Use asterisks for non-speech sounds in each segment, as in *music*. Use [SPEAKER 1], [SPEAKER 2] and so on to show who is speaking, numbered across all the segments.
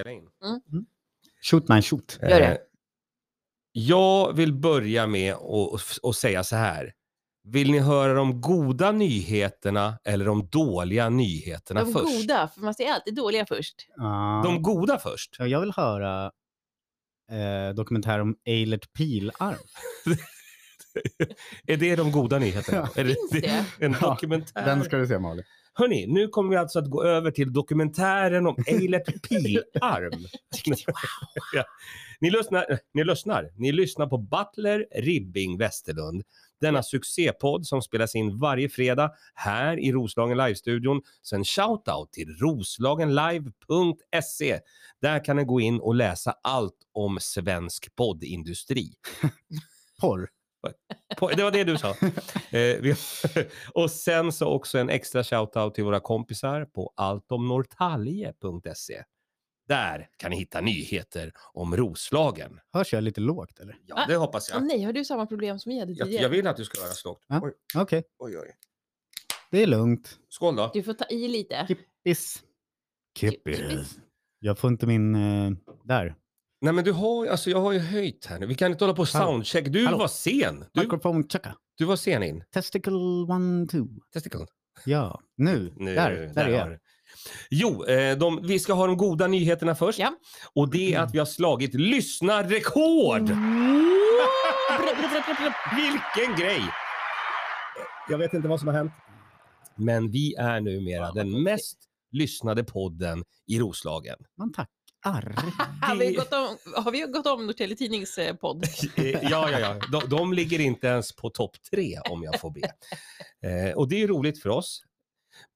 [SPEAKER 1] spela in.
[SPEAKER 2] Shoot man shoot.
[SPEAKER 1] Eh,
[SPEAKER 3] Mm, Gör det.
[SPEAKER 1] Jag vill börja med att att säga så här. Vill ni höra de goda nyheterna eller de dåliga nyheterna
[SPEAKER 3] De
[SPEAKER 1] först?
[SPEAKER 3] goda, för man säger alltid dåliga först.
[SPEAKER 2] Ja.
[SPEAKER 1] De goda först.
[SPEAKER 2] Ja, Jag vill höra eh, dokumentär om Eilert Pilarm.
[SPEAKER 1] Är det de goda nyheterna? Är
[SPEAKER 3] Finns det?
[SPEAKER 1] En
[SPEAKER 2] Ja,
[SPEAKER 1] dokumentär?
[SPEAKER 2] Den ska du se Malin.
[SPEAKER 1] Hörni, nu kommer vi alltså att gå över till dokumentären om Eilert Pilarm. *laughs* Ja. ni, lyssnar, eh, ni lyssnar. Ni lyssnar på Butler Ribbing Westerlund. Denna succépodd som spelas in varje fredag här i Roslagen Live-studion. Så en shoutout till roslagenlive.se. Där kan ni gå in och läsa allt om svensk poddindustri.
[SPEAKER 2] Porr.
[SPEAKER 1] På, det var det *laughs* du sa. Eh, vi, *laughs* och sen så också en extra shoutout till våra kompisar på alltomnorrtalje.se. Där kan ni hitta nyheter om Roslagen.
[SPEAKER 2] Hörs jag lite lågt eller?
[SPEAKER 1] Ja, det hoppas
[SPEAKER 3] Åh
[SPEAKER 1] jag.
[SPEAKER 3] nej, har du samma problem som vi hade
[SPEAKER 1] Jag,
[SPEAKER 3] tidigare?
[SPEAKER 1] jag vill att du ska höra slått.
[SPEAKER 2] Ja.
[SPEAKER 1] Oj,
[SPEAKER 2] Okej,
[SPEAKER 1] oj, oj.
[SPEAKER 2] det är lugnt.
[SPEAKER 1] Skål då.
[SPEAKER 3] Du får ta i lite.
[SPEAKER 2] Kippis.
[SPEAKER 3] Kippis.
[SPEAKER 2] Jag får inte min... Eh, där.
[SPEAKER 1] Nej, men du har, ju- alltså, jag har ju höjt här nu. Vi kan inte hålla på och
[SPEAKER 2] Hallå.
[SPEAKER 1] soundcheck. Du
[SPEAKER 2] Hallå.
[SPEAKER 1] var sen. Du,
[SPEAKER 2] Mikrofon checka.
[SPEAKER 1] du var sen in.
[SPEAKER 2] Testicle one, two.
[SPEAKER 1] Testicle.
[SPEAKER 2] Ja, nu.
[SPEAKER 1] Nu,
[SPEAKER 2] där, där, är
[SPEAKER 1] har
[SPEAKER 2] jag.
[SPEAKER 1] du. Jo, eh, de, vi ska ha de goda nyheterna först.
[SPEAKER 3] Ja.
[SPEAKER 1] Och det är att vi har slagit lyssnarrekord!
[SPEAKER 3] Mm.
[SPEAKER 1] Vilken grej! Jag vet inte vad som har hänt. Men vi är numera den mest lyssnade podden i Roslagen.
[SPEAKER 2] Man tackar.
[SPEAKER 3] Har vi gått om, har vi gått om Norrtälje Tidnings
[SPEAKER 1] *laughs*
[SPEAKER 3] eh, podd?
[SPEAKER 1] Eh, Ja, ja, ja. De, de ligger inte ens på topp tre om jag får be. Eh, och det är roligt för oss.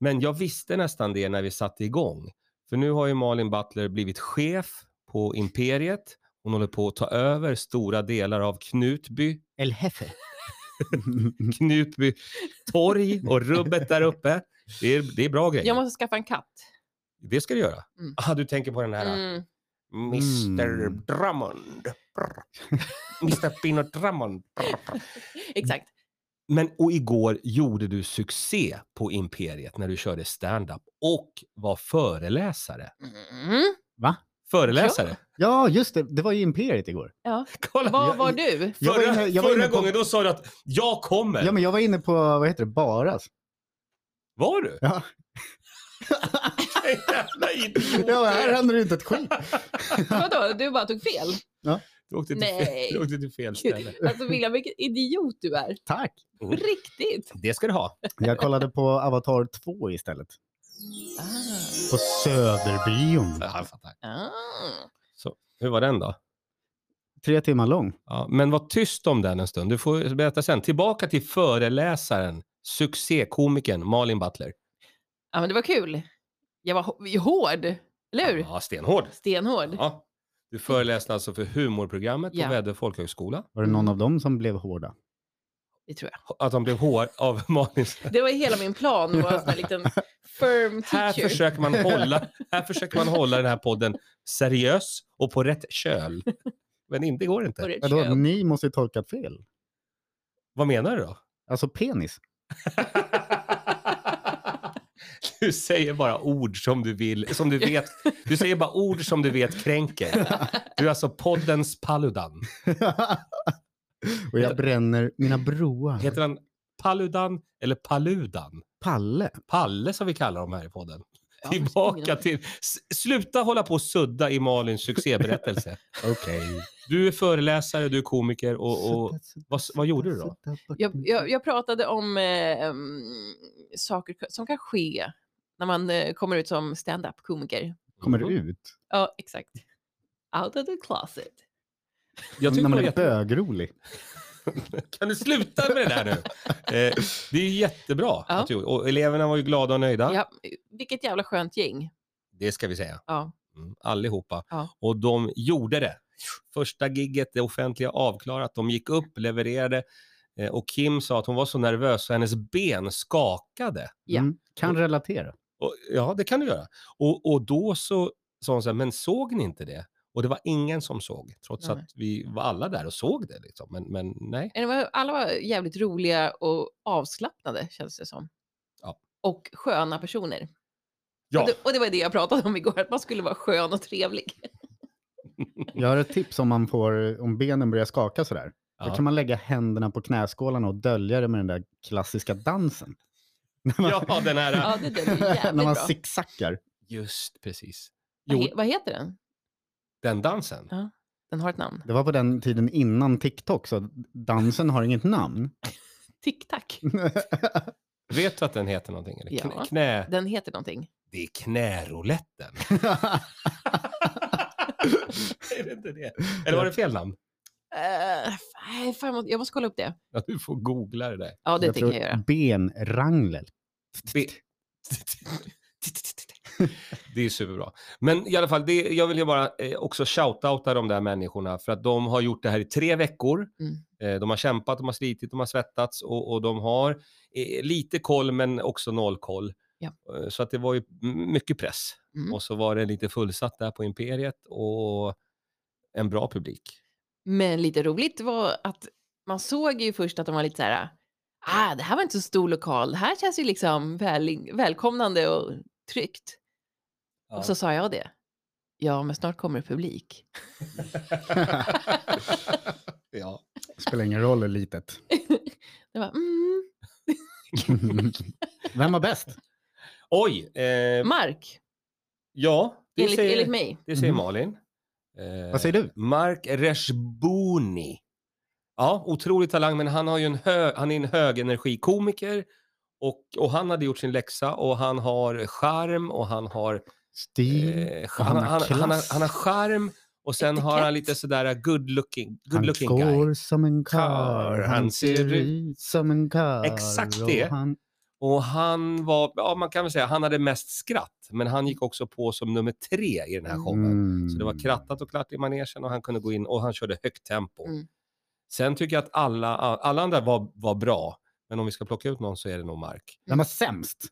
[SPEAKER 1] Men jag visste nästan det när vi satte igång. För nu har ju Malin Butler blivit chef på Imperiet. Hon håller på att ta över stora delar av Knutby,
[SPEAKER 2] El Hefe.
[SPEAKER 1] Knutby torg och rubbet där uppe. Det är, det är bra grejer.
[SPEAKER 3] Jag måste skaffa en katt.
[SPEAKER 1] Det ska du göra.
[SPEAKER 3] Mm.
[SPEAKER 1] Ah, du tänker på den här
[SPEAKER 3] Mm.
[SPEAKER 1] Mr
[SPEAKER 2] Mm.
[SPEAKER 1] *laughs* Drummond. Brr. Mr Pinot Drummond. Brr.
[SPEAKER 3] Exakt.
[SPEAKER 1] Men och igår gjorde du succé på Imperiet när du körde stand-up och var föreläsare.
[SPEAKER 3] Mm.
[SPEAKER 1] Föreläsare?
[SPEAKER 2] *laughs* ja, just det. Det var ju Imperiet igår.
[SPEAKER 1] *laughs* Kolla.
[SPEAKER 3] Vad var du? *laughs*
[SPEAKER 2] Jag var
[SPEAKER 1] förra
[SPEAKER 2] inne- jag var
[SPEAKER 1] förra
[SPEAKER 2] inne på-
[SPEAKER 1] gången då sa du att jag kommer.
[SPEAKER 2] Ja, men jag var inne på, vad heter det, Baras.
[SPEAKER 1] Var du?
[SPEAKER 2] Ja.
[SPEAKER 1] *laughs* Jävla idiot.
[SPEAKER 2] *laughs* Ja, här händer det inte ett skit.
[SPEAKER 3] Vadå, du bara tog fel?
[SPEAKER 1] Du åkte till
[SPEAKER 3] Nej.
[SPEAKER 1] fel, du åkte till fel ställe. Mm.
[SPEAKER 3] Alltså William, vilken idiot du är.
[SPEAKER 2] Tack.
[SPEAKER 3] På riktigt.
[SPEAKER 1] Det ska du ha.
[SPEAKER 2] Jag kollade på Avatar 2 istället. På Söderbion.
[SPEAKER 1] Ja, jag fattar.
[SPEAKER 3] Ah.
[SPEAKER 1] Hur var den då?
[SPEAKER 2] Tre timmar lång.
[SPEAKER 1] Ja, men var tyst om den en stund. Du får berätta sen. Tillbaka till föreläsaren, succékomikern Malin Butler.
[SPEAKER 3] Ja, men det var kul. Jag var hå- hård, eller hur?
[SPEAKER 1] Ja, stenhård.
[SPEAKER 3] Stenhård.
[SPEAKER 1] Ja. Du föreläste alltså för humorprogrammet på
[SPEAKER 3] Ja.
[SPEAKER 1] Väddö folkhögskola.
[SPEAKER 2] Var det någon av dem som blev
[SPEAKER 1] Mm.
[SPEAKER 2] hårda?
[SPEAKER 3] Det tror jag.
[SPEAKER 1] Att de blev hår av *laughs* Malins...
[SPEAKER 3] Det var ju hela min plan, att vara en sån
[SPEAKER 1] *laughs*
[SPEAKER 3] här liten firm
[SPEAKER 1] Här
[SPEAKER 3] teacher.
[SPEAKER 1] försöker, man
[SPEAKER 3] *laughs*
[SPEAKER 1] hålla, här försöker man hålla den här podden seriös och på rätt köl. Men inte går det
[SPEAKER 3] Och
[SPEAKER 1] inte.
[SPEAKER 3] det är
[SPEAKER 2] Vadå,
[SPEAKER 3] kön.
[SPEAKER 2] ni måste ju tolkat fel.
[SPEAKER 1] Vad menar du då? *laughs*
[SPEAKER 2] Alltså penis.
[SPEAKER 1] Du säger bara ord som du vill, som du vet. Du säger bara ord som du vet kränker. Du är alltså poddens Paludan.
[SPEAKER 2] Och jag bränner mina broar.
[SPEAKER 1] Heter han Paludan eller Paludan?
[SPEAKER 2] Palle.
[SPEAKER 1] Palle som vi kallar dem här i podden.
[SPEAKER 3] Ja,
[SPEAKER 1] Tillbaka till... S- Sluta hålla på och sudda i Malins succéberättelse.
[SPEAKER 2] Okej.
[SPEAKER 1] Du är föreläsare, du är komiker och, och vad, s- vad gjorde du då?
[SPEAKER 3] Jag, jag, jag pratade om eh, mm, saker som kan ske när man eh, kommer ut som stand-up-komiker.
[SPEAKER 2] Kommer
[SPEAKER 1] Mm.
[SPEAKER 2] du ut?
[SPEAKER 3] Ja, exakt. Out of the closet.
[SPEAKER 1] Jag tycker
[SPEAKER 2] När man
[SPEAKER 1] det
[SPEAKER 2] är
[SPEAKER 1] var jätte...
[SPEAKER 2] bögrolig.
[SPEAKER 1] Kan du sluta med det där nu? Eh, det är jättebra.
[SPEAKER 3] Ja.
[SPEAKER 1] Att du, och eleverna var ju glada och nöjda.
[SPEAKER 3] Ja, vilket jävla skönt gäng.
[SPEAKER 1] Det ska vi säga.
[SPEAKER 3] Ja.
[SPEAKER 1] Mm, allihopa.
[SPEAKER 3] Ja.
[SPEAKER 1] Och de gjorde det. Första gigget, det offentliga avklarat. De gick upp, levererade. Eh, Och Kim sa att hon var så nervös så hennes ben skakade.
[SPEAKER 3] Ja.
[SPEAKER 2] Mm. Kan relatera.
[SPEAKER 1] Och, ja, det kan du göra. Och, och då så sa hon så här, men såg ni inte det? Och det var ingen som såg, trots
[SPEAKER 3] Nej.
[SPEAKER 1] att vi var alla där och såg det. Liksom. Men, men nej.
[SPEAKER 3] Men Eh, det var- Alla var jävligt roliga och avslappnade känns det som.
[SPEAKER 1] Ja.
[SPEAKER 3] Och sköna personer.
[SPEAKER 1] Ja,
[SPEAKER 3] Och, det, och det var det jag pratade om igår, att man skulle vara skön och trevlig.
[SPEAKER 2] Jag har ett tips om man får, om benen börjar skaka sådär. Då
[SPEAKER 1] Ja.
[SPEAKER 2] kan man lägga händerna på knäskålarna och dölja det med den där klassiska dansen. När man,
[SPEAKER 1] *laughs* ja den här...
[SPEAKER 3] Ja, det döljer jävligt
[SPEAKER 2] *laughs* när man
[SPEAKER 3] bra.
[SPEAKER 2] zigzackar.
[SPEAKER 1] Just precis.
[SPEAKER 3] Vad
[SPEAKER 1] Jo,
[SPEAKER 3] he- Vad heter den?
[SPEAKER 1] den dansen.
[SPEAKER 3] Den har ett namn.
[SPEAKER 2] Det var på den tiden innan TikTok, så dansen har inget namn.
[SPEAKER 3] Tic-tac.
[SPEAKER 1] Vet du att den heter någonting? Eller?
[SPEAKER 3] Ja.
[SPEAKER 1] Knä, knä,
[SPEAKER 3] Den heter någonting.
[SPEAKER 1] det är knärouletten. är det inte *laughs* det? Eller var det fel namn?
[SPEAKER 3] Eh, nej, fan, jag måste- jag måste kolla upp det.
[SPEAKER 1] Ja, du får googla det där.
[SPEAKER 3] Ja, det
[SPEAKER 2] Jag
[SPEAKER 3] tänker
[SPEAKER 2] tror
[SPEAKER 3] jag göra.
[SPEAKER 2] Benrangel.
[SPEAKER 1] Be- Det är superbra. Men i alla fall, det, jag vill ju bara eh, också shoutouta de där människorna för att de har gjort det här i tre veckor.
[SPEAKER 3] Mm.
[SPEAKER 1] Eh, de har kämpat, de har slitit, de har svettats och, och de har eh, lite koll men också noll koll.
[SPEAKER 3] Ja.
[SPEAKER 1] Eh, så att det var ju m- mycket press.
[SPEAKER 3] Mm.
[SPEAKER 1] Och så var det lite fullsatt där på Imperiet och en bra publik.
[SPEAKER 3] Men lite roligt var att man såg ju först att de var lite så här, ah, det här var inte så stor lokal, det här känns ju liksom väl, välkomnande och tryggt. Och så sa jag det. Ja, men snart kommer det publik.
[SPEAKER 1] ja.
[SPEAKER 2] Spelar ingen roll hur litet.
[SPEAKER 3] Det var, mm,
[SPEAKER 2] Vem var bäst?
[SPEAKER 1] Oj! Eh,
[SPEAKER 3] Mark,
[SPEAKER 1] ja, det
[SPEAKER 3] Mm. enligt,
[SPEAKER 1] säger,
[SPEAKER 3] enligt mig.
[SPEAKER 1] det säger
[SPEAKER 2] Mhm.
[SPEAKER 1] Malin. Eh,
[SPEAKER 2] Vad säger du?
[SPEAKER 1] Mark Reshbouni. Ja, otrolig talang, men han, har ju en hö, han är en högenergikomiker. Och, och han hade gjort sin läxa och han har charm och han har...
[SPEAKER 2] Stil?
[SPEAKER 1] Eh,
[SPEAKER 2] och
[SPEAKER 1] han,
[SPEAKER 2] han
[SPEAKER 1] han,
[SPEAKER 2] har
[SPEAKER 1] han, han, har,
[SPEAKER 2] klass.
[SPEAKER 1] han har charm och sen har
[SPEAKER 3] Etikett.
[SPEAKER 1] han lite sådär good looking, good
[SPEAKER 2] han
[SPEAKER 1] looking guy.
[SPEAKER 2] går som en karl,
[SPEAKER 1] Karl,
[SPEAKER 2] han,
[SPEAKER 1] han ser
[SPEAKER 2] ser ut som en karl.
[SPEAKER 1] Exakt
[SPEAKER 2] och
[SPEAKER 1] det.
[SPEAKER 2] Han...
[SPEAKER 1] Och han var, ja man kan väl säga, han hade mest skratt. Men han gick också på som nummer tre i den här showen.
[SPEAKER 2] Mm.
[SPEAKER 1] Så det var krattat och klart i manegen och han kunde gå in och han körde högt tempo.
[SPEAKER 3] Mm.
[SPEAKER 1] Sen tycker jag att alla, alla andra var, var bra. Men om vi ska plocka ut någon så är det nog Mark.
[SPEAKER 2] Den var sämst.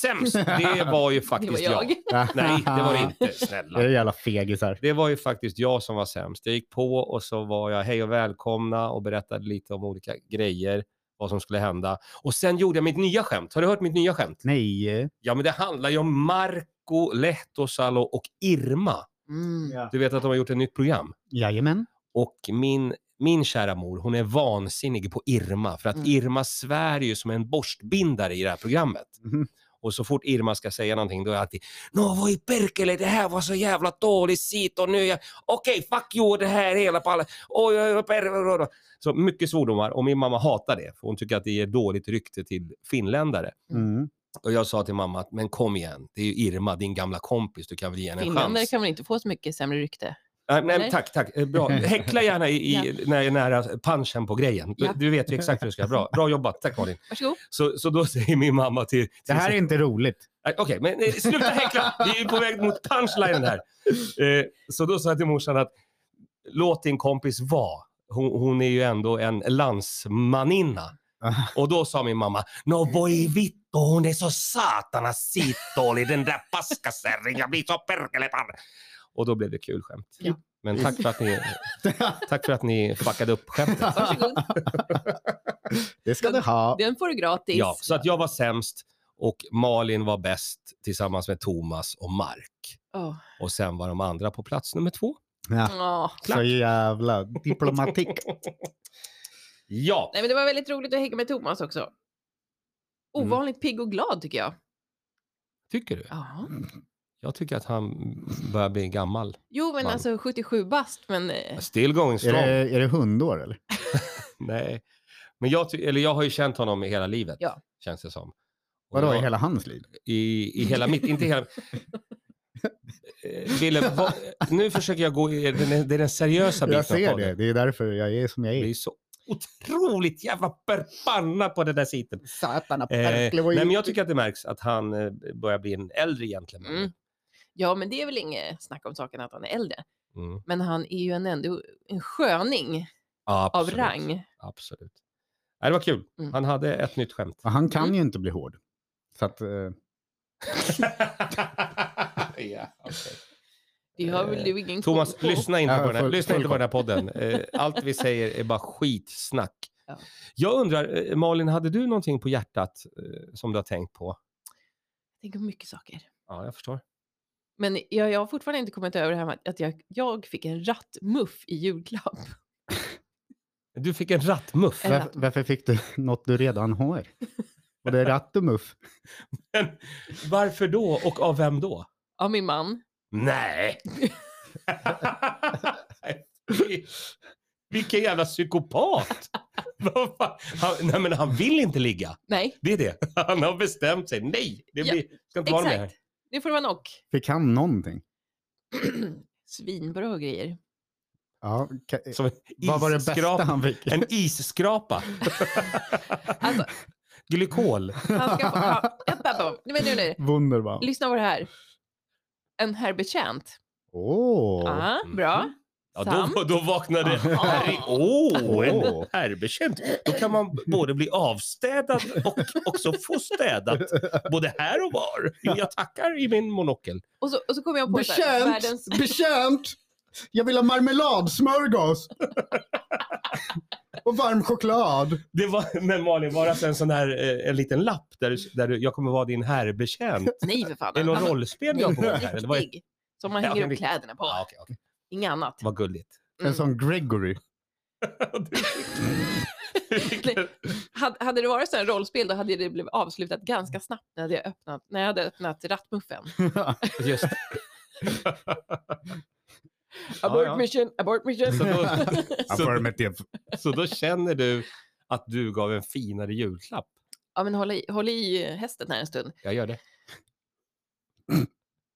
[SPEAKER 1] Sämst,
[SPEAKER 3] *laughs*
[SPEAKER 1] det var ju
[SPEAKER 3] Det
[SPEAKER 1] faktiskt
[SPEAKER 3] var jag.
[SPEAKER 1] *laughs* Nej, det var det
[SPEAKER 3] *laughs*
[SPEAKER 1] inte. Snälla.
[SPEAKER 2] *laughs* Det är jävla fegisar.
[SPEAKER 1] Det var ju faktiskt jag som var sämst. Jag gick på och så var jag hej och välkomna och berättade lite om olika grejer, vad som skulle hända. Och sen gjorde jag mitt nya skämt. Har du hört mitt nya skämt?
[SPEAKER 2] Nej.
[SPEAKER 1] Ja, men det handlar ju om Marco, Lehtosalo och Irma.
[SPEAKER 3] Mm.
[SPEAKER 2] Ja.
[SPEAKER 1] Du vet att de har gjort ett nytt program.
[SPEAKER 2] Jajamän.
[SPEAKER 1] Och min, min kära mor, hon är vansinnig på Irma för att
[SPEAKER 3] Mm.
[SPEAKER 1] Irma svär ju som en borstbindare i det här programmet.
[SPEAKER 2] Mhm.
[SPEAKER 1] Och så fort Irma ska säga någonting då är det alltid Nå vad i perkele, det här var så jävla dåligt sit och nu är jag... Okej, fuck you, det här är hela pallen. Oj, oj, oj, per... Så mycket svordomar och min mamma hatar det för hon tycker att det ger dåligt rykte till finländare.
[SPEAKER 2] Mm.
[SPEAKER 1] Och jag sa till mamma att men kom igen, det är ju Irma, din gamla kompis, du kan väl ge henne en
[SPEAKER 3] Finländare
[SPEAKER 1] chans.
[SPEAKER 3] kan väl inte få så mycket sämre rykte?
[SPEAKER 1] Nej, nej,
[SPEAKER 3] Eller?
[SPEAKER 1] tack, tack. Eh,
[SPEAKER 2] *laughs*
[SPEAKER 1] Bra. Häckla gärna i, i, när jag är nära punchen på grejen. Du,
[SPEAKER 3] Ja.
[SPEAKER 1] du vet ju exakt hur du ska. Bra, bra jobbat. Tack Malin.
[SPEAKER 3] Varsågod.
[SPEAKER 1] Så, så då säger min mamma till... till
[SPEAKER 2] Det här är inte roligt.
[SPEAKER 1] Eh, Okej, men eh, sluta häckla. Vi är på väg mot punchlinen här. Eh, så då sa jag till morsan att låt din kompis vara. Hon, hon är ju ändå en landsmaninna. Och då sa min mamma, no voi vittu, hon är så satana sittålig den där paskasärringen, jag blir så perkelepar. Och då blev det kul skämt.
[SPEAKER 3] Ja.
[SPEAKER 1] Men tack för att ni Tack för att ni fuckade upp skämtet.
[SPEAKER 3] Varsågod.
[SPEAKER 2] *laughs* det ska du ha.
[SPEAKER 3] Den får du gratis.
[SPEAKER 1] Ja, så att jag var sämst och Malin var bäst tillsammans med Thomas och Mark.
[SPEAKER 3] Åh.
[SPEAKER 1] Och sen var de andra på plats nummer två.
[SPEAKER 2] Ja.
[SPEAKER 3] Åh.
[SPEAKER 2] Så jävla
[SPEAKER 1] *laughs*
[SPEAKER 2] diplomatik.
[SPEAKER 1] Ja,
[SPEAKER 3] Nej, men det var väldigt roligt att hänga med Thomas
[SPEAKER 1] Mm.
[SPEAKER 3] också. Ovanligt pigg och glad tycker jag.
[SPEAKER 1] tycker du?
[SPEAKER 3] Ja.
[SPEAKER 1] Jag tycker att han börjar bli gammal.
[SPEAKER 3] Jo, men
[SPEAKER 1] Man.
[SPEAKER 3] alltså 77 bast, men eh,
[SPEAKER 1] Still going
[SPEAKER 2] är,
[SPEAKER 1] strong.
[SPEAKER 2] det, är det hundår eller?
[SPEAKER 1] Nej. Men jag, ty- eller jag har ju känt honom i hela livet,
[SPEAKER 3] Ja.
[SPEAKER 1] känns det som. Och
[SPEAKER 2] Vadå,
[SPEAKER 1] jag-
[SPEAKER 2] i hela hans liv?
[SPEAKER 1] i, i hela mitt, inte
[SPEAKER 2] *laughs*
[SPEAKER 1] hela... Eh, Wille, vad- nu försöker jag gå, i- det är den seriösa biten
[SPEAKER 2] Jag ser
[SPEAKER 1] av
[SPEAKER 2] det. Det är därför jag är som jag
[SPEAKER 1] Det
[SPEAKER 2] är.
[SPEAKER 1] är så otroligt jävla förbanna på den där siten.
[SPEAKER 2] Satan,
[SPEAKER 1] Eh, nej, men jag tycker att det märks att han eh, börjar bli en äldre gentleman.
[SPEAKER 3] Mm. ja, men det är väl inget snack om saken att han är äldre.
[SPEAKER 1] Mm.
[SPEAKER 3] Men han är ju en, ändå en sköning av
[SPEAKER 1] Absolut.
[SPEAKER 3] rang.
[SPEAKER 1] Absolut. Nej, det var kul.
[SPEAKER 3] Mm.
[SPEAKER 1] Han hade ett nytt
[SPEAKER 3] *laughs*
[SPEAKER 1] skämt.
[SPEAKER 2] Han kan ju inte bli hård. Så att, eh,
[SPEAKER 1] ja, okej.
[SPEAKER 3] Det har väl
[SPEAKER 1] Eh,
[SPEAKER 3] du ingen koll
[SPEAKER 1] Thomas,
[SPEAKER 3] på.
[SPEAKER 1] lyssna inte
[SPEAKER 2] Ja,
[SPEAKER 1] på den här,
[SPEAKER 2] full-
[SPEAKER 1] lyssna inte på
[SPEAKER 2] full
[SPEAKER 1] den här podden. Eh, Allt vi säger är bara skitsnack.
[SPEAKER 3] Ja.
[SPEAKER 1] Jag undrar, eh, Malin, hade du någonting på hjärtat eh, som du har tänkt på?
[SPEAKER 3] Tänk om mycket saker.
[SPEAKER 1] Ja, jag förstår.
[SPEAKER 3] Men jag, jag har fortfarande inte kommit över det här med att- att jag, jag fick en rattmuff i julklapp.
[SPEAKER 1] Du fick en rattmuff.
[SPEAKER 3] En
[SPEAKER 2] Varför, varför fick du *laughs* något du redan har? Och det är ratt och muff.
[SPEAKER 1] Varför då och av vem då?
[SPEAKER 3] Av min man.
[SPEAKER 1] Nej!
[SPEAKER 3] *laughs*
[SPEAKER 1] *laughs* Vilken jävla psykopat! Vad fan? han, nej men han vill inte ligga.
[SPEAKER 3] Nej,
[SPEAKER 1] Det är det. *laughs* Han har bestämt sig. Nej, det
[SPEAKER 3] Ja,
[SPEAKER 1] blir, ska inte vara med här.
[SPEAKER 3] exakt. Nu får det vara nog. *clears throat*
[SPEAKER 2] Fick han någonting?
[SPEAKER 3] Svinbra grejer.
[SPEAKER 2] Ja, ka-
[SPEAKER 1] Som en
[SPEAKER 2] vad var det
[SPEAKER 1] isskrapa.
[SPEAKER 2] bästa han
[SPEAKER 1] *laughs*
[SPEAKER 2] fick?
[SPEAKER 1] En isskrapa.
[SPEAKER 3] Alltså,
[SPEAKER 1] Glykol. *laughs*
[SPEAKER 3] han ska få... ha- Upp, upp, upp. Nej, men nu, nu.
[SPEAKER 2] Wunderbar.
[SPEAKER 3] Lyssna på det här. En herr betjänt.
[SPEAKER 2] Åh!
[SPEAKER 1] Ah.
[SPEAKER 3] Ja,
[SPEAKER 1] mm.
[SPEAKER 3] bra.
[SPEAKER 1] Ja,
[SPEAKER 3] Sam.
[SPEAKER 1] då, då vaknade Harry. Åh, en herbekänt. Då kan man både bli avstädad och också få städat. Både här och var. Jag tackar i min monokel.
[SPEAKER 3] Och så, och så kom jag på så här, världens...
[SPEAKER 2] Bekänt! Jag vill ha marmeladsmörgås! och varm choklad.
[SPEAKER 1] Det var, men Malin, var det alltså en sån här eh, en liten lapp där, du- där du, jag kommer vara din herrbetjänt?
[SPEAKER 3] Nej, för fan.
[SPEAKER 1] Är det någon
[SPEAKER 3] Han var
[SPEAKER 1] rollspel jag har på gång här? Eller vad är-
[SPEAKER 3] riktig. Som man
[SPEAKER 1] Ja,
[SPEAKER 3] hänger
[SPEAKER 1] men
[SPEAKER 3] upp
[SPEAKER 1] det-
[SPEAKER 3] kläderna på.
[SPEAKER 1] Ja, okej, okej.
[SPEAKER 3] Inget annat.
[SPEAKER 1] Vad
[SPEAKER 3] *laughs*
[SPEAKER 1] gulligt.
[SPEAKER 3] Mm.
[SPEAKER 2] En sån Gregory.
[SPEAKER 3] Hade, hade det varit så här rollspel då hade det blivit avslutat ganska snabbt när jag hade öppnat, när jag hade
[SPEAKER 1] *laughs*
[SPEAKER 3] öppnat rattmuffen.
[SPEAKER 1] Just.
[SPEAKER 3] Abort
[SPEAKER 1] ja.
[SPEAKER 3] mission, abort mission.
[SPEAKER 1] Så då,
[SPEAKER 2] Affirmative.
[SPEAKER 1] så då känner du att du gav en finare julklapp?
[SPEAKER 3] Ja, men håll i, håll i eh, hästen här en stund.
[SPEAKER 1] Jag gör det.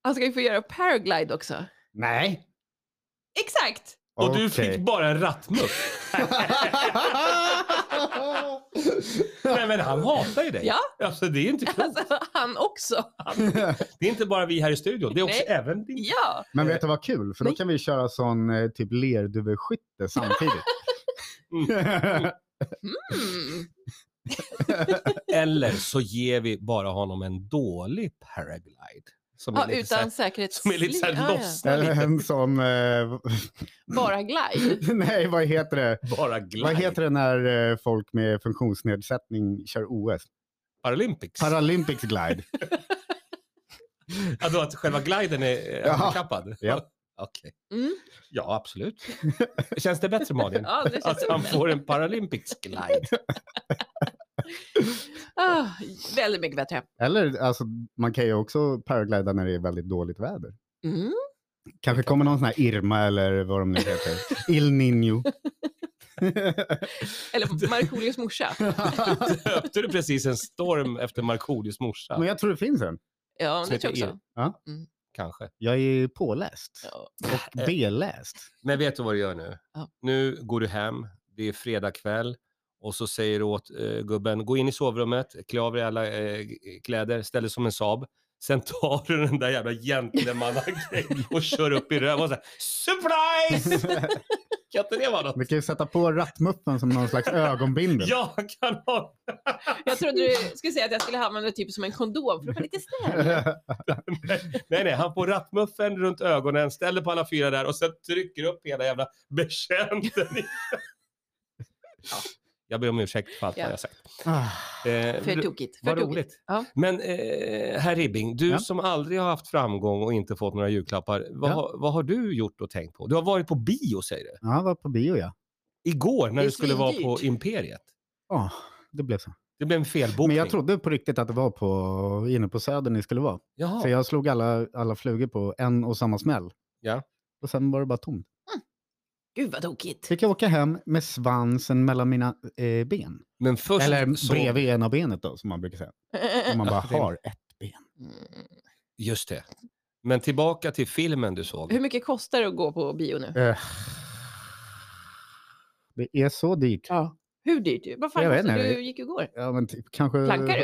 [SPEAKER 3] Han ska ju få göra paraglide också.
[SPEAKER 2] Nej.
[SPEAKER 3] Exakt!
[SPEAKER 1] Och du
[SPEAKER 2] Okej.
[SPEAKER 1] fick bara en rattmuff. Nej men han hatar ju dig.
[SPEAKER 3] Ja.
[SPEAKER 1] Alltså, det, är inte klokt.
[SPEAKER 3] Alltså, *laughs* han också.
[SPEAKER 1] det är inte bara vi här i studion, det är också
[SPEAKER 3] Nej.
[SPEAKER 1] även din...
[SPEAKER 3] Ja!
[SPEAKER 2] *laughs* Men vet du vad kul? För då
[SPEAKER 3] Nej.
[SPEAKER 2] kan vi köra sån eh, typ lerduveskytte samtidigt. *laughs*
[SPEAKER 3] Mm.
[SPEAKER 1] *laughs* Eller så ger vi bara honom en dålig paraglide. Som
[SPEAKER 3] ja
[SPEAKER 1] lite så
[SPEAKER 3] utan
[SPEAKER 1] här- som är lite
[SPEAKER 3] säkerhetsliv.
[SPEAKER 1] såhär
[SPEAKER 3] Ja, ja.
[SPEAKER 1] lossna
[SPEAKER 2] Eller
[SPEAKER 1] lite.
[SPEAKER 2] en sån... eh, *laughs*
[SPEAKER 3] Bara glide.
[SPEAKER 2] Nej, vad heter det?
[SPEAKER 1] Bara glide.
[SPEAKER 2] Vad heter det när eh, folk med funktionsnedsättning kör OS?
[SPEAKER 1] Paralympics.
[SPEAKER 2] Paralympics glide.
[SPEAKER 1] Alltså att själva gliden är eh,
[SPEAKER 2] *laughs* Ja.
[SPEAKER 1] handikappad?
[SPEAKER 2] Ja.
[SPEAKER 1] Okej. *laughs*
[SPEAKER 3] Mm.
[SPEAKER 1] Ja,
[SPEAKER 2] *laughs*
[SPEAKER 1] absolut. Känns det bättre Malin?
[SPEAKER 3] Ja, det känns
[SPEAKER 1] Att han
[SPEAKER 3] underbart.
[SPEAKER 1] får en Paralympics glide.
[SPEAKER 3] Ah, väldigt mycket bättre.
[SPEAKER 2] Eller alltså, man kan ju också paraglida när det är väldigt dåligt väder.
[SPEAKER 3] Mm.
[SPEAKER 2] Kanske kommer någon sån här Irma eller vad de nu heter. Il Niño.
[SPEAKER 1] *laughs*
[SPEAKER 3] *laughs* Eller Markoolios morsa.
[SPEAKER 1] Döpte du precis en storm efter Markoolios morsa?
[SPEAKER 2] Men jag tror det finns en.
[SPEAKER 3] Ja,
[SPEAKER 1] Som
[SPEAKER 3] det tror
[SPEAKER 1] heter
[SPEAKER 3] jag också.
[SPEAKER 1] Kanske.
[SPEAKER 2] Jag är påläst.
[SPEAKER 3] Ja.
[SPEAKER 2] Och beläst.
[SPEAKER 1] Men vet du vad du gör nu?
[SPEAKER 3] Ja.
[SPEAKER 1] Nu går du hem, det är fredag kväll och så säger du åt eh, gubben, gå in i sovrummet, klä av dig alla eh, kläder, ställ dig som en Saab. Sen tar du den där jävla
[SPEAKER 2] *laughs*
[SPEAKER 1] gentlemannagrejen och kör upp i röven och så här, surprise! Kan inte det vara något?
[SPEAKER 2] Vi kan ju sätta på rattmuffen som någon slags ögonbindel. *laughs*
[SPEAKER 1] Ja, kan ha.
[SPEAKER 3] Jag trodde du skulle säga att jag skulle använda det typ som en kondom för att vara lite snäll.
[SPEAKER 1] Nej, nej, han får rattmuffen runt ögonen, ställer på alla fyra där och sen trycker upp hela jävla betjänten.
[SPEAKER 3] *laughs*
[SPEAKER 1] i- Ja, jag ber om ursäkt för allt
[SPEAKER 3] Ja.
[SPEAKER 1] vad jag sagt.
[SPEAKER 2] Ah,
[SPEAKER 1] Eh,
[SPEAKER 3] För tokigt. För
[SPEAKER 1] Vad
[SPEAKER 3] tokigt.
[SPEAKER 1] roligt.
[SPEAKER 3] Ja.
[SPEAKER 1] Men eh, herr Ribbing, du
[SPEAKER 2] Ja.
[SPEAKER 1] som aldrig har haft framgång och inte fått några julklappar, vad,
[SPEAKER 2] Ja.
[SPEAKER 1] har- vad har du gjort och tänkt på? Du har varit på bio säger du.
[SPEAKER 2] ja, jag var på bio ja.
[SPEAKER 1] Igår när
[SPEAKER 3] Det är
[SPEAKER 1] du skulle vara på
[SPEAKER 3] svindyrt.
[SPEAKER 1] Imperiet.
[SPEAKER 2] Ja, det blev så.
[SPEAKER 1] Det blev en felbokning.
[SPEAKER 2] Men jag trodde på riktigt att det var på, inne på Söder ni skulle vara.
[SPEAKER 1] Jaha.
[SPEAKER 2] För jag slog alla, alla flugor på en och samma smäll.
[SPEAKER 1] Ja.
[SPEAKER 2] Och sen var det bara tomt.
[SPEAKER 3] Gud vad tokigt. *laughs*
[SPEAKER 2] Fick jag åka hem med svansen mellan mina eh, ben.
[SPEAKER 1] Men först
[SPEAKER 2] Eller
[SPEAKER 1] så...
[SPEAKER 2] bredvid ena benet då, som man brukar säga. Om man bara
[SPEAKER 1] Ja, det-
[SPEAKER 2] har ett ben.
[SPEAKER 3] Mm.
[SPEAKER 1] Just det. Men tillbaka till filmen du såg.
[SPEAKER 3] Hur mycket kostar det att gå på bio nu?
[SPEAKER 2] Eh, Det är så dyrt.
[SPEAKER 3] Ja. Hur dyrt? Vad fan
[SPEAKER 2] Jag vet
[SPEAKER 3] kostar
[SPEAKER 2] inte.
[SPEAKER 3] Du gick igår.
[SPEAKER 2] Ja, men typ kanske...
[SPEAKER 3] Plankar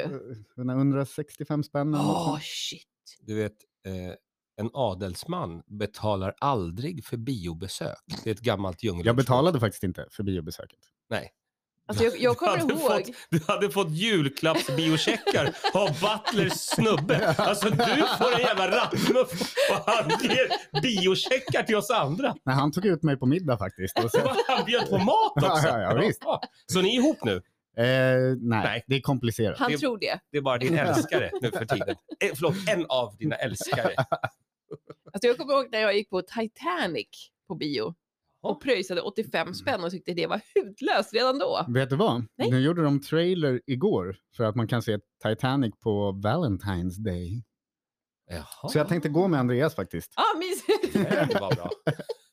[SPEAKER 2] eh, 165 spänn
[SPEAKER 1] Mm.
[SPEAKER 2] eller något
[SPEAKER 3] Åh
[SPEAKER 2] sånt.
[SPEAKER 3] shit.
[SPEAKER 1] Du vet, eh, en adelsman betalar aldrig för biobesök. Det är ett gammalt djungelordspråk.
[SPEAKER 2] Jag betalade faktiskt inte för biobesöket.
[SPEAKER 3] Alltså,
[SPEAKER 1] *laughs*
[SPEAKER 3] jag, jag kommer
[SPEAKER 1] hade
[SPEAKER 3] ihåg.
[SPEAKER 1] fått- Du hade fått julklappsbiocheckar av Butlers snubbe. Alltså du får en jävla rattmuff och han ger biocheckar till oss andra. *laughs*
[SPEAKER 2] Nej, han tog ut mig på middag faktiskt. Och sen,
[SPEAKER 1] Han bjöd på mat också.
[SPEAKER 2] Ja, ja, ja, visst.
[SPEAKER 1] Så ni är ihop nu?
[SPEAKER 2] Eh, nej,
[SPEAKER 1] Nej.
[SPEAKER 2] det är komplicerat.
[SPEAKER 3] Han
[SPEAKER 1] Det-
[SPEAKER 3] tror det.
[SPEAKER 1] Det är bara din älskare nu för tiden. Eh, förlåt, en av dina älskare.
[SPEAKER 3] Alltså jag kommer ihåg när jag gick på Titanic på bio och pröjsade 85 spänn och tyckte det var hudlöst redan då.
[SPEAKER 1] Mm.
[SPEAKER 2] Vet du vad?
[SPEAKER 3] Nej.
[SPEAKER 2] Nu gjorde de trailer igår för att man kan se Titanic på Valentine's Day.
[SPEAKER 1] Jaha.
[SPEAKER 2] Så jag tänkte gå med Andreas faktiskt.
[SPEAKER 3] Ah, mysigt.
[SPEAKER 1] Det var bra.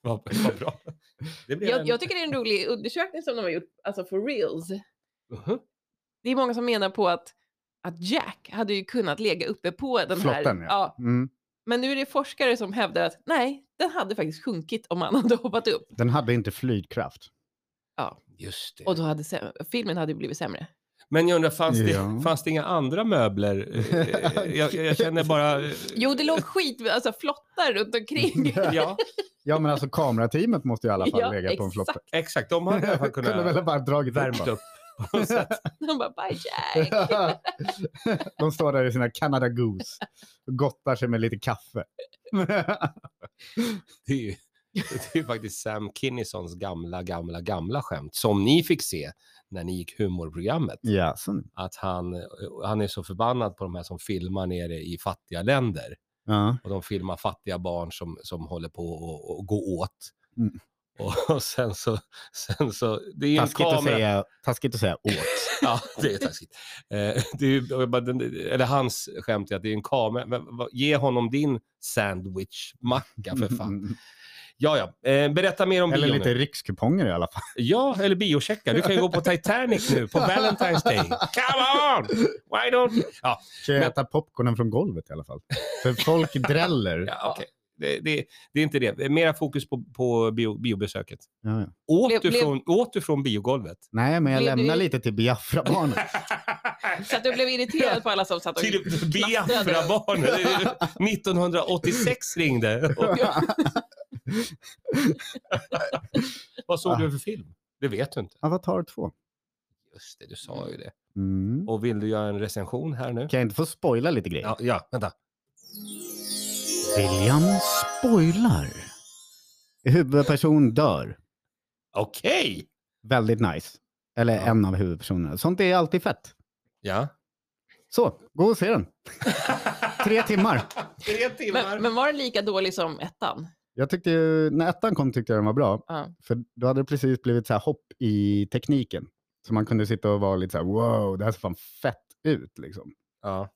[SPEAKER 1] Vad vad bra. *laughs* Det blev
[SPEAKER 3] Jag,
[SPEAKER 1] en...
[SPEAKER 3] jag tycker det är en rolig undersökning som de har gjort, alltså for reals.
[SPEAKER 1] Mhm.
[SPEAKER 3] Det är många som menar på att, att Jack hade ju kunnat lägga uppe på den
[SPEAKER 2] Flotten,
[SPEAKER 3] här.
[SPEAKER 2] ja. Mm.
[SPEAKER 3] men nu är det forskare som hävdar att nej, den hade faktiskt sjunkit om han *laughs* hade hoppat upp.
[SPEAKER 2] Den hade
[SPEAKER 1] *laughs*
[SPEAKER 2] inte flygkraft.
[SPEAKER 1] Just det.
[SPEAKER 3] Och då hade sä- filmen hade blivit sämre.
[SPEAKER 1] Men jag undrar, fanns,
[SPEAKER 2] Ja.
[SPEAKER 1] det, fanns det inga andra möbler? Eh, Jag, jag känner bara... eh,
[SPEAKER 3] Jo, det låg skit, alltså flottar runt omkring.
[SPEAKER 2] Mm.
[SPEAKER 1] Ja,
[SPEAKER 2] Ja, men alltså kamerateamet måste ju i alla fall
[SPEAKER 3] Ja,
[SPEAKER 2] lägga på en flotte.
[SPEAKER 3] exakt.
[SPEAKER 1] exakt. De hade i
[SPEAKER 2] *laughs*
[SPEAKER 1] alla fall
[SPEAKER 2] Kunde
[SPEAKER 1] kunnat
[SPEAKER 2] väl ha bara dragit
[SPEAKER 1] värmt
[SPEAKER 2] upp.
[SPEAKER 1] upp. på något sätt.
[SPEAKER 3] *laughs* De bara, bye Jack.
[SPEAKER 2] *laughs* De står där i sina Canada Goose och gottar sig med lite
[SPEAKER 1] *laughs*
[SPEAKER 2] kaffe.
[SPEAKER 1] Det är ju *laughs* det är ju faktiskt Sam Kinnisons gamla, gamla, gamla skämt som ni fick se när ni gick humorprogrammet.
[SPEAKER 2] ja, så.
[SPEAKER 1] Att han, eh, han är så förbannad på de här som filmar nere i fattiga länder.
[SPEAKER 2] Ja.
[SPEAKER 1] Och de filmar fattiga barn som, som håller på att- att gå åt.
[SPEAKER 2] Mm.
[SPEAKER 1] Och, och sen så, sen så, det är ju en
[SPEAKER 2] Taskigt,
[SPEAKER 1] kamera.
[SPEAKER 2] att säga, taskigt att säga åt.
[SPEAKER 1] *laughs* Ja, det är taskigt. Eh, det är, ju- jag bara, den- eller hans skämt är att det är en kamera. Men, vad- ge honom din sandwichmacka för fan. Ja, ja. Eh, berätta mer om
[SPEAKER 2] Mm. Eller
[SPEAKER 1] bio
[SPEAKER 2] lite
[SPEAKER 1] nu.
[SPEAKER 2] rikskuponger
[SPEAKER 1] *laughs*
[SPEAKER 2] i alla fall.
[SPEAKER 1] Ja, eller biocheckar. Du kan ju gå på Titanic nu
[SPEAKER 2] *laughs*
[SPEAKER 1] på Valentine's Day. Come on! Why don't you? Ja,
[SPEAKER 2] Kan jag
[SPEAKER 1] Men-
[SPEAKER 2] äta popcornen från golvet i alla fall? För folk dräller.
[SPEAKER 1] *laughs* ja okej. Det, det, det är inte det. Det är Mera fokus på, på bio, biobesöket.
[SPEAKER 2] Ja, ja.
[SPEAKER 1] Åt
[SPEAKER 3] Blev-
[SPEAKER 1] du,
[SPEAKER 3] blev-
[SPEAKER 1] från, åt du från
[SPEAKER 3] *laughs*
[SPEAKER 1] biogolvet?
[SPEAKER 2] Nej, men jag
[SPEAKER 3] Blev
[SPEAKER 2] lämnar
[SPEAKER 3] du-
[SPEAKER 2] lite till Biafra-barnen.
[SPEAKER 3] Så att du blev irriterad på alla som satt och...
[SPEAKER 1] Till Biafra-barnen.
[SPEAKER 3] *laughs*
[SPEAKER 1] 1986 ringde. *laughs*
[SPEAKER 2] *laughs*
[SPEAKER 1] Och- Vad såg du för film? Det vet du inte.
[SPEAKER 2] Avatar 2.
[SPEAKER 1] Just det, du sa ju det.
[SPEAKER 2] Mm.
[SPEAKER 1] Och vill du göra en recension här nu?
[SPEAKER 2] Kan jag inte få spoila lite grejer?
[SPEAKER 1] Ja, ja vänta.
[SPEAKER 2] William spoilar. Huvudperson dör.
[SPEAKER 1] Okej!
[SPEAKER 2] Väldigt nice. Eller
[SPEAKER 1] Ja.
[SPEAKER 2] en av huvudpersonerna. Sånt är alltid fett.
[SPEAKER 1] *laughs* Ja.
[SPEAKER 2] Så, gå och se den. Tre timmar.
[SPEAKER 1] Tre timmar.
[SPEAKER 3] Men, men var den lika dålig som ettan?
[SPEAKER 2] Jag tyckte ju, när ettan kom tyckte jag den var bra.
[SPEAKER 3] Ja.
[SPEAKER 2] För då hade det precis blivit så här hopp i tekniken. Så man kunde sitta och vara lite så här wow, det här ser fan fett ut liksom.
[SPEAKER 1] Ja.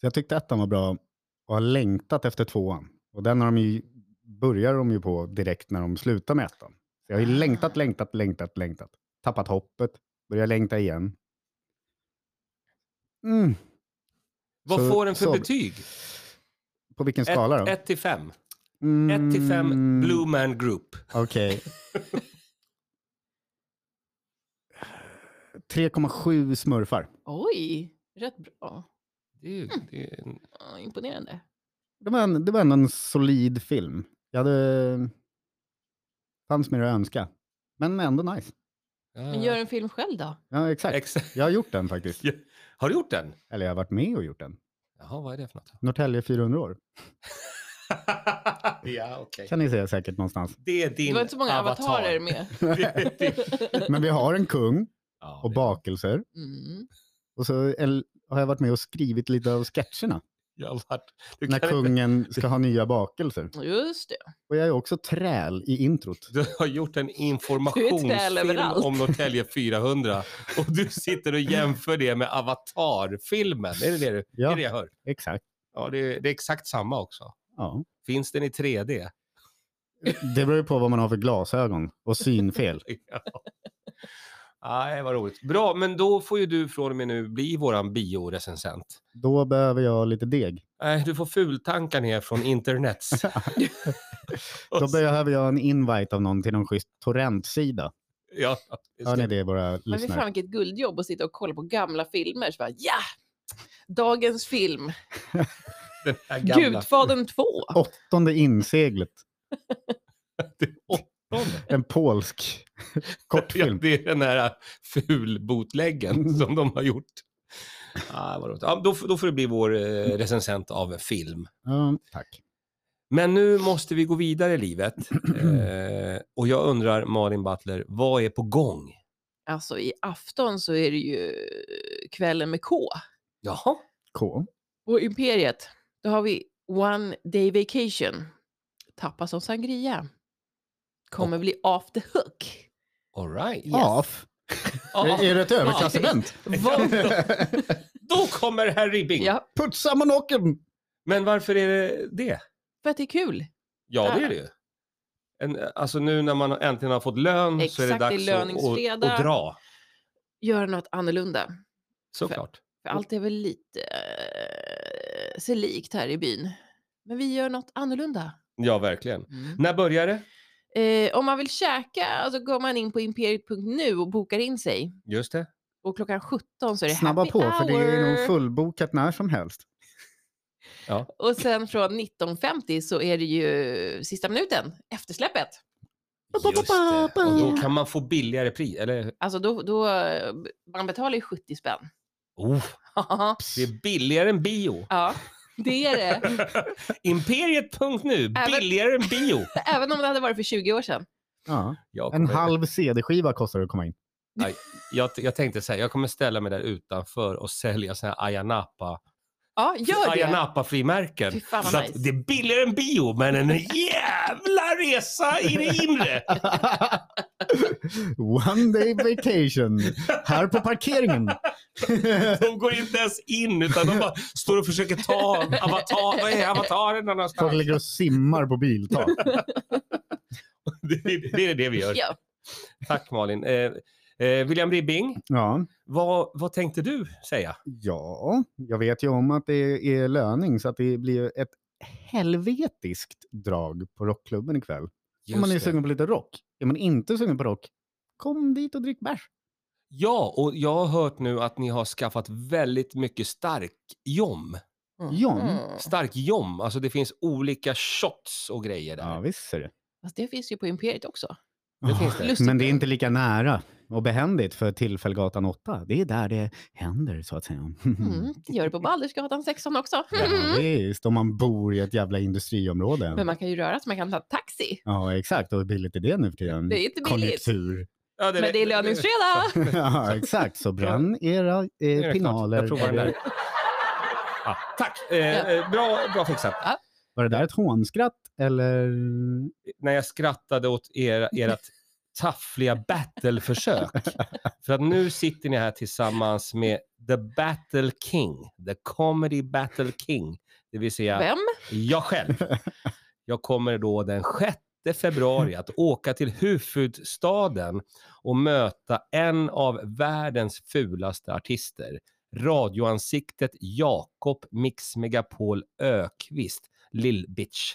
[SPEAKER 2] Så jag tyckte ettan var bra och har längtat efter tvåan. Och den har de ju, börjar de ju på direkt när de slutar med ettan. Så jag har ju
[SPEAKER 3] Ah.
[SPEAKER 2] längtat, längtat, längtat, längtat. Tappat hoppet, börjar längta igen. Mm.
[SPEAKER 1] Vad
[SPEAKER 2] Så-
[SPEAKER 1] får den för
[SPEAKER 2] så-
[SPEAKER 1] betyg?
[SPEAKER 2] På vilken skala då?
[SPEAKER 1] 1 till 5. 1
[SPEAKER 2] Mm,
[SPEAKER 1] till 5 Blue Man Group.
[SPEAKER 2] Okej. 3,7 smurfar.
[SPEAKER 3] Oj, rätt bra.
[SPEAKER 1] Det är, ju- det är en...
[SPEAKER 3] Ja, imponerande.
[SPEAKER 2] Det var, en, det var ändå en solid film. Jag hade... Fanns mer att önska. Men ändå nice.
[SPEAKER 1] ja,
[SPEAKER 3] Men gör en film själv då.
[SPEAKER 2] Ja, exakt.
[SPEAKER 1] Exakt.
[SPEAKER 2] Jag har gjort den faktiskt.
[SPEAKER 1] Har du gjort den?
[SPEAKER 2] Eller jag har varit med och gjort den.
[SPEAKER 1] Jaha, vad är det för något?
[SPEAKER 2] Norrtälje 400 år.
[SPEAKER 1] *laughs* ja, okej.
[SPEAKER 2] Kan ni se säkert någonstans.
[SPEAKER 1] Det är din
[SPEAKER 3] Det var inte så många
[SPEAKER 1] avatar.
[SPEAKER 3] *laughs* avatarer med.
[SPEAKER 1] Det är din-
[SPEAKER 2] Men vi har en kung
[SPEAKER 1] ja,
[SPEAKER 2] och
[SPEAKER 1] det-
[SPEAKER 2] bakelser.
[SPEAKER 3] Mm.
[SPEAKER 2] Och så el- har jag varit med och skrivit lite av sketcherna.
[SPEAKER 1] jag har varit- du
[SPEAKER 2] När
[SPEAKER 1] kan inte-
[SPEAKER 2] kungen ska ha nya bakelser.
[SPEAKER 3] Just det.
[SPEAKER 2] Och jag är också träl i introt.
[SPEAKER 1] Du har gjort en informationsfilm
[SPEAKER 3] överallt.
[SPEAKER 1] om Norrtälje 400 och du sitter och jämför det med Avatar-filmen. Är det det, du, är
[SPEAKER 2] Ja,
[SPEAKER 1] det jag hör?
[SPEAKER 2] exakt.
[SPEAKER 1] Ja, det är, det är exakt samma också.
[SPEAKER 2] Ja.
[SPEAKER 1] Finns den i 3D?
[SPEAKER 2] Det beror ju på vad man har för glasögon och synfel.
[SPEAKER 1] *laughs* Ja. Nej, vad roligt. Bra, men då får ju du från och med nu bli våran biorecensent.
[SPEAKER 2] Då behöver jag lite deg.
[SPEAKER 1] Nej, du får fultankar ner från internets.
[SPEAKER 2] *laughs* Då
[SPEAKER 1] Alltså.
[SPEAKER 2] behöver jag en invite av någon till någon schysst torrentsida.
[SPEAKER 1] ja, det
[SPEAKER 2] Hör ni
[SPEAKER 1] ska...
[SPEAKER 2] det våra
[SPEAKER 3] Men fy fan
[SPEAKER 2] lyssnare?
[SPEAKER 3] vilket guldjobb att sitta och kolla på gamla filmer. Så bara, ja! Dagens film.
[SPEAKER 1] Den här gamla.
[SPEAKER 3] Gudfadern 2.
[SPEAKER 2] Åttonde inseglet.
[SPEAKER 1] Det åttonde.
[SPEAKER 2] En polsk *laughs* kortfilm.
[SPEAKER 1] *laughs*
[SPEAKER 2] Mm.
[SPEAKER 1] Ja, det är den här fulbotläggen som de har gjort. Ah, vad roligt. ja, då, får- då får du bli vår eh,
[SPEAKER 2] Mm.
[SPEAKER 1] recensent av en film.
[SPEAKER 2] Ja, tack.
[SPEAKER 1] Men nu måste vi gå vidare i livet. Eh, och jag undrar, Malin Butler, vad är på gång?
[SPEAKER 3] Alltså i afton så är det ju kvällen med K.
[SPEAKER 1] Jaha.
[SPEAKER 2] K.
[SPEAKER 3] Och Imperiet, då har vi One Day Vacation. Tappas som sangria. Kommer bli off the hook.
[SPEAKER 1] All right.
[SPEAKER 3] Yes.
[SPEAKER 2] Af. Är- Är det ett överklassevent?
[SPEAKER 3] Vad-
[SPEAKER 1] Ah, Då kommer herr Ribbing.
[SPEAKER 3] ja,
[SPEAKER 2] Putsa monokeln!
[SPEAKER 1] Men varför är det det?
[SPEAKER 3] för att det är kul.
[SPEAKER 1] Ja, det är det ju. En, alltså nu när man äntligen har fått lön så är det
[SPEAKER 3] Exakt, det är
[SPEAKER 1] dags att, att,
[SPEAKER 3] löningsfredag.
[SPEAKER 1] att dra.
[SPEAKER 3] Göra något annorlunda.
[SPEAKER 1] Såklart.
[SPEAKER 3] För allt är väl lite eh, sig likt här i byn. Men vi gör något annorlunda.
[SPEAKER 1] Ja, verkligen. När börjar det?
[SPEAKER 3] Eh, om man vill käka så går man in på imperiet.nu och bokar in sig.
[SPEAKER 1] Just det.
[SPEAKER 3] Och klockan 17 så är det
[SPEAKER 2] Snabba
[SPEAKER 3] happy
[SPEAKER 2] på,
[SPEAKER 3] hour.
[SPEAKER 2] för det är nog fullbokat när som helst.
[SPEAKER 3] Och sen från 19.50 så är det ju sista minuten, eftersläppet.
[SPEAKER 1] Just det. Och då kan man få billigare pris. Eller,
[SPEAKER 3] Alltså då, då, eh, man betalar ju 70 spänn. *laughs*
[SPEAKER 1] oh,
[SPEAKER 3] ja,
[SPEAKER 1] det är billigare än bio.
[SPEAKER 3] det är det.
[SPEAKER 1] Imperiet.nu,
[SPEAKER 3] Även-
[SPEAKER 1] billigare än
[SPEAKER 3] *laughs*
[SPEAKER 1] bio.
[SPEAKER 3] Även om det hade varit för 20 år sedan.
[SPEAKER 2] Ja.
[SPEAKER 1] Jag
[SPEAKER 2] En
[SPEAKER 1] kommer-
[SPEAKER 2] halv CD-skiva kostar det att komma in.
[SPEAKER 1] jag, jag tänkte säga, jag kommer ställa mig där utanför och sälja såna här Ayanapa,
[SPEAKER 3] Ja, gör det.
[SPEAKER 1] Ayanapa-frimärken.
[SPEAKER 3] Fy fan
[SPEAKER 1] Så
[SPEAKER 3] vad
[SPEAKER 1] att det
[SPEAKER 3] nice.
[SPEAKER 1] är billigare än bio, men en jävla resa i det inre!
[SPEAKER 2] One day vacation. Här på parkeringen.
[SPEAKER 1] De går inte ens in, utan de bara står och försöker ta avatar, vad är avataren
[SPEAKER 2] Folk
[SPEAKER 1] någonstans?
[SPEAKER 2] ligger och simmar på biltak.
[SPEAKER 1] Det är det, är det vi gör.
[SPEAKER 3] Ja.
[SPEAKER 1] Tack Malin. Eh, eh, William Ribbing,
[SPEAKER 2] Ja.
[SPEAKER 1] vad, vad tänkte du säga?
[SPEAKER 2] ja, jag vet ju om att det är löning så att det blir ett helvetiskt drag på rockklubben ikväll. om man är
[SPEAKER 1] Just det.
[SPEAKER 2] sugen på lite rock. Är man inte sugen på rock, kom dit och drick bärs.
[SPEAKER 1] Ja, och jag har hört nu att ni har skaffat väldigt mycket stark jom.
[SPEAKER 2] John?
[SPEAKER 3] Mm.
[SPEAKER 1] Stark jom, alltså det finns olika shots och grejer där.
[SPEAKER 2] Ja, visst är det.
[SPEAKER 3] Fast det finns ju på Imperiet också.
[SPEAKER 1] Det finns
[SPEAKER 2] Ah,
[SPEAKER 1] det.
[SPEAKER 2] Men det är inte lika nära och behändigt för Tillfällgatan 8. Det är där det händer, så att säga.
[SPEAKER 3] Mm. Det gör det på Baldersgatan 16 också.
[SPEAKER 2] *laughs* Ja, visst, om man bor i ett jävla industriområde.
[SPEAKER 3] Men man kan ju röra sig, man kan ta taxi.
[SPEAKER 2] Ja, exakt. Och hur billigt är det nu för tiden?
[SPEAKER 3] Det är inte billigt.
[SPEAKER 2] Mm. Konjunktur. *laughs*
[SPEAKER 1] Ja,
[SPEAKER 3] Men det är löningsfredag.
[SPEAKER 2] ja, exakt. Så bränn era
[SPEAKER 1] Det är
[SPEAKER 2] eh,
[SPEAKER 1] klart.
[SPEAKER 2] pinaler.
[SPEAKER 1] Jag provar den där. Ah, tack! Eh, eh, bra, bra fixat.
[SPEAKER 2] Var det där ett hånskratt eller?
[SPEAKER 1] När jag skrattade åt era,
[SPEAKER 2] *laughs*
[SPEAKER 1] ert taffliga battleförsök. För att nu sitter ni här tillsammans med The Battle King. The Comedy Battle King. Det vill säga
[SPEAKER 3] Vem?
[SPEAKER 1] jag själv. Jag kommer då den 6 februari att åka till huvudstaden och möta en av världens fulaste artister. Radioansiktet Jakob Mix Megapol Ökvist, Lill-Bitch.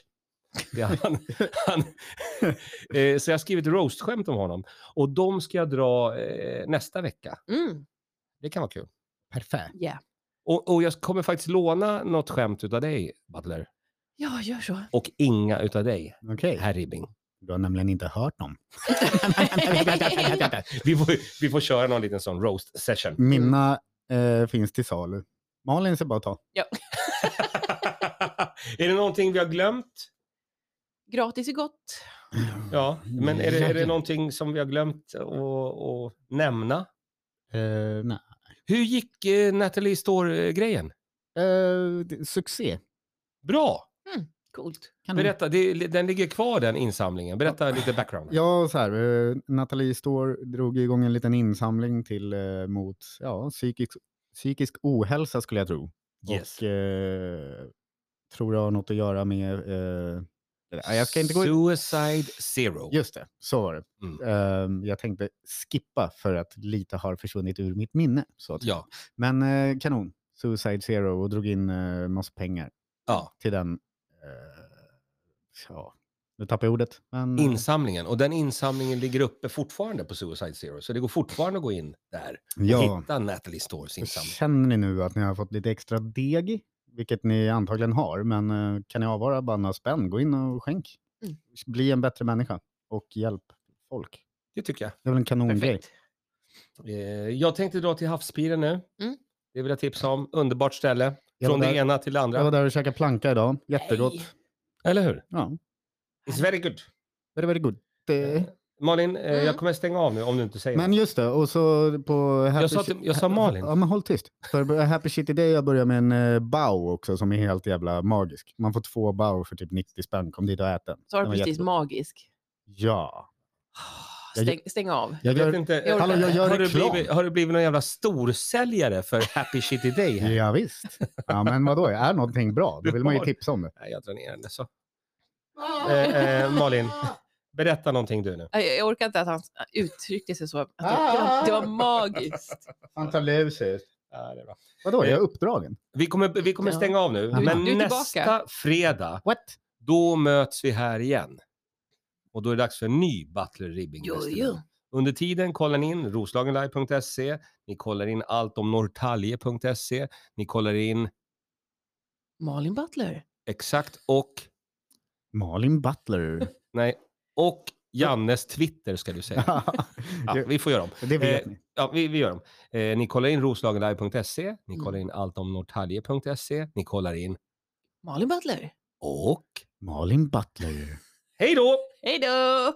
[SPEAKER 1] Det är Han, *laughs* han, eh, så jag har skrivit roastskämt om honom. Och de ska jag dra eh, nästa vecka.
[SPEAKER 3] Mm.
[SPEAKER 1] Det kan vara kul.
[SPEAKER 2] Perfekt.
[SPEAKER 3] Yeah.
[SPEAKER 1] Och, och jag kommer faktiskt låna något skämt utav dig, Butler.
[SPEAKER 3] Ja, gör så.
[SPEAKER 1] Och inga utav dig.
[SPEAKER 2] Okej.
[SPEAKER 1] Herr Ribbing.
[SPEAKER 2] Du har nämligen inte hört *laughs* dem.
[SPEAKER 1] Vi får, vi får köra någon liten sån roast session.
[SPEAKER 2] Mina eh, finns till salu. Malin ska bara ta.
[SPEAKER 1] *laughs* är det någonting vi har glömt?
[SPEAKER 3] Gratis är gott.
[SPEAKER 1] Ja, men är det, är det någonting som vi har glömt att, att nämna?
[SPEAKER 2] Eh, nej.
[SPEAKER 1] Hur gick eh, Natalie Store-grejen?
[SPEAKER 2] Eh, det- succé.
[SPEAKER 1] Bra!
[SPEAKER 3] Coolt.
[SPEAKER 2] Kan du-
[SPEAKER 1] Berätta, det, den ligger kvar den insamlingen. Berätta lite background.
[SPEAKER 2] Ja, så här. Eh, Nathalie Står drog igång en liten insamling till eh, mot ja, psykisk, psykisk ohälsa skulle jag tro.
[SPEAKER 1] Yes.
[SPEAKER 2] Och eh, tror jag har något att göra med... Eh, nej, jag ska inte gå in...
[SPEAKER 1] Suicide Zero.
[SPEAKER 2] Just det, så var det.
[SPEAKER 1] Mm.
[SPEAKER 2] Eh, jag tänkte skippa för att lite har försvunnit ur mitt minne. Så att,
[SPEAKER 1] Ja,
[SPEAKER 2] Men eh, kanon. Suicide Zero och drog in eh, massa pengar
[SPEAKER 1] ja,
[SPEAKER 2] till den. Eh, ja, nu tappar jag ordet. Men, eh,
[SPEAKER 1] insamlingen. Och den insamlingen ligger uppe fortfarande på Suicide Zero. Så det går fortfarande att gå in där och
[SPEAKER 2] ja.
[SPEAKER 1] hitta Natalie Stores insamling.
[SPEAKER 2] Känner ni nu att ni har fått lite extra deg, vilket ni antagligen har, men eh, kan ni avvara bara några spänn, gå in och skänk.
[SPEAKER 3] Mm.
[SPEAKER 2] Bli en bättre människa och hjälp folk.
[SPEAKER 1] Det tycker jag.
[SPEAKER 2] Det är väl en kanongrej.
[SPEAKER 3] Perfekt.
[SPEAKER 1] Eh, jag tänkte dra till havspiren nu.
[SPEAKER 3] Mm.
[SPEAKER 1] Det vill jag tipsa om. Underbart ställe.
[SPEAKER 2] Jag
[SPEAKER 1] Från
[SPEAKER 2] var
[SPEAKER 1] det
[SPEAKER 2] där-
[SPEAKER 1] ena till det andra.
[SPEAKER 2] Jag var där och käkade planka idag. Jättegott.
[SPEAKER 3] Nej.
[SPEAKER 1] Eller hur?
[SPEAKER 2] Ja,
[SPEAKER 1] It's very good.
[SPEAKER 2] very, very good. Det-
[SPEAKER 1] Malin, eh,
[SPEAKER 3] Mm.
[SPEAKER 1] jag kommer stänga av nu om du inte säger
[SPEAKER 2] Men just det, och så på... Happy
[SPEAKER 1] Jag sa
[SPEAKER 2] Shi-
[SPEAKER 1] till- jag sa Malin.
[SPEAKER 2] Ja, men håll tyst. För *laughs* Happy Shit Day jag börjar med en eh, bao också som är helt jävla magisk. Man får två bao för typ 90 spänn. Kom dit och ät den.
[SPEAKER 3] Så har
[SPEAKER 2] Den
[SPEAKER 3] du
[SPEAKER 2] var
[SPEAKER 3] precis
[SPEAKER 2] jättegod.
[SPEAKER 3] magisk.
[SPEAKER 2] Ja. Jag-
[SPEAKER 3] Stäng, stäng av.
[SPEAKER 2] Jag
[SPEAKER 1] Jag
[SPEAKER 2] gör,
[SPEAKER 1] vet inte. eh,
[SPEAKER 3] jag orkar
[SPEAKER 2] hallå, jag
[SPEAKER 3] inte.
[SPEAKER 2] gör
[SPEAKER 1] har, du
[SPEAKER 2] reklam.
[SPEAKER 1] blivit, har du blivit någon jävla storsäljare för Happy Shitty Day? Här?
[SPEAKER 2] Ja, visst. Ja, men vadå, är någonting bra, då
[SPEAKER 1] Du
[SPEAKER 2] vill man ju
[SPEAKER 1] har-
[SPEAKER 2] tipsa om det.
[SPEAKER 1] Nej, jag drar ner den. Så. Eh, eh, Malin, berätta någonting du nu.
[SPEAKER 3] *laughs* Nej, Jag orkar inte att han uttryckte sig så. Att det, var- det var magiskt.
[SPEAKER 2] Han tar lur sig ut.
[SPEAKER 1] Ja, det är bra.
[SPEAKER 2] Vadå, jag är uppdragen.
[SPEAKER 1] Vi kommer, vi kommer
[SPEAKER 3] Ja.
[SPEAKER 1] stänga av nu,
[SPEAKER 2] Du-
[SPEAKER 1] men
[SPEAKER 3] du är
[SPEAKER 1] nästa
[SPEAKER 3] tillbaka.
[SPEAKER 1] fredag,
[SPEAKER 2] What?
[SPEAKER 1] då möts vi här igen. Och då är det dags för en ny Butler Ribbing
[SPEAKER 3] Jo,
[SPEAKER 1] Festival.
[SPEAKER 3] jo.
[SPEAKER 1] Under tiden kollar ni in roslagenlive.se, ni kollar in allt om norrtalje.se, ni kollar in
[SPEAKER 3] Malin Butler.
[SPEAKER 1] exakt och,
[SPEAKER 2] Malin Butler.
[SPEAKER 1] nej, och Jannes Twitter ska du
[SPEAKER 3] *laughs*
[SPEAKER 1] säga. *laughs*
[SPEAKER 2] *laughs*
[SPEAKER 1] Ja, vi får göra om.
[SPEAKER 2] det vet
[SPEAKER 1] Eh,
[SPEAKER 2] ni.
[SPEAKER 1] Ja, vi, vi gör dem. Eh, ni kollar in roslagenlive.se, ni
[SPEAKER 3] Mm.
[SPEAKER 1] kollar in allt om norrtalje.se, ni kollar in
[SPEAKER 3] Malin Butler.
[SPEAKER 1] och
[SPEAKER 2] Malin Butler.
[SPEAKER 1] hej då!
[SPEAKER 3] Hej då!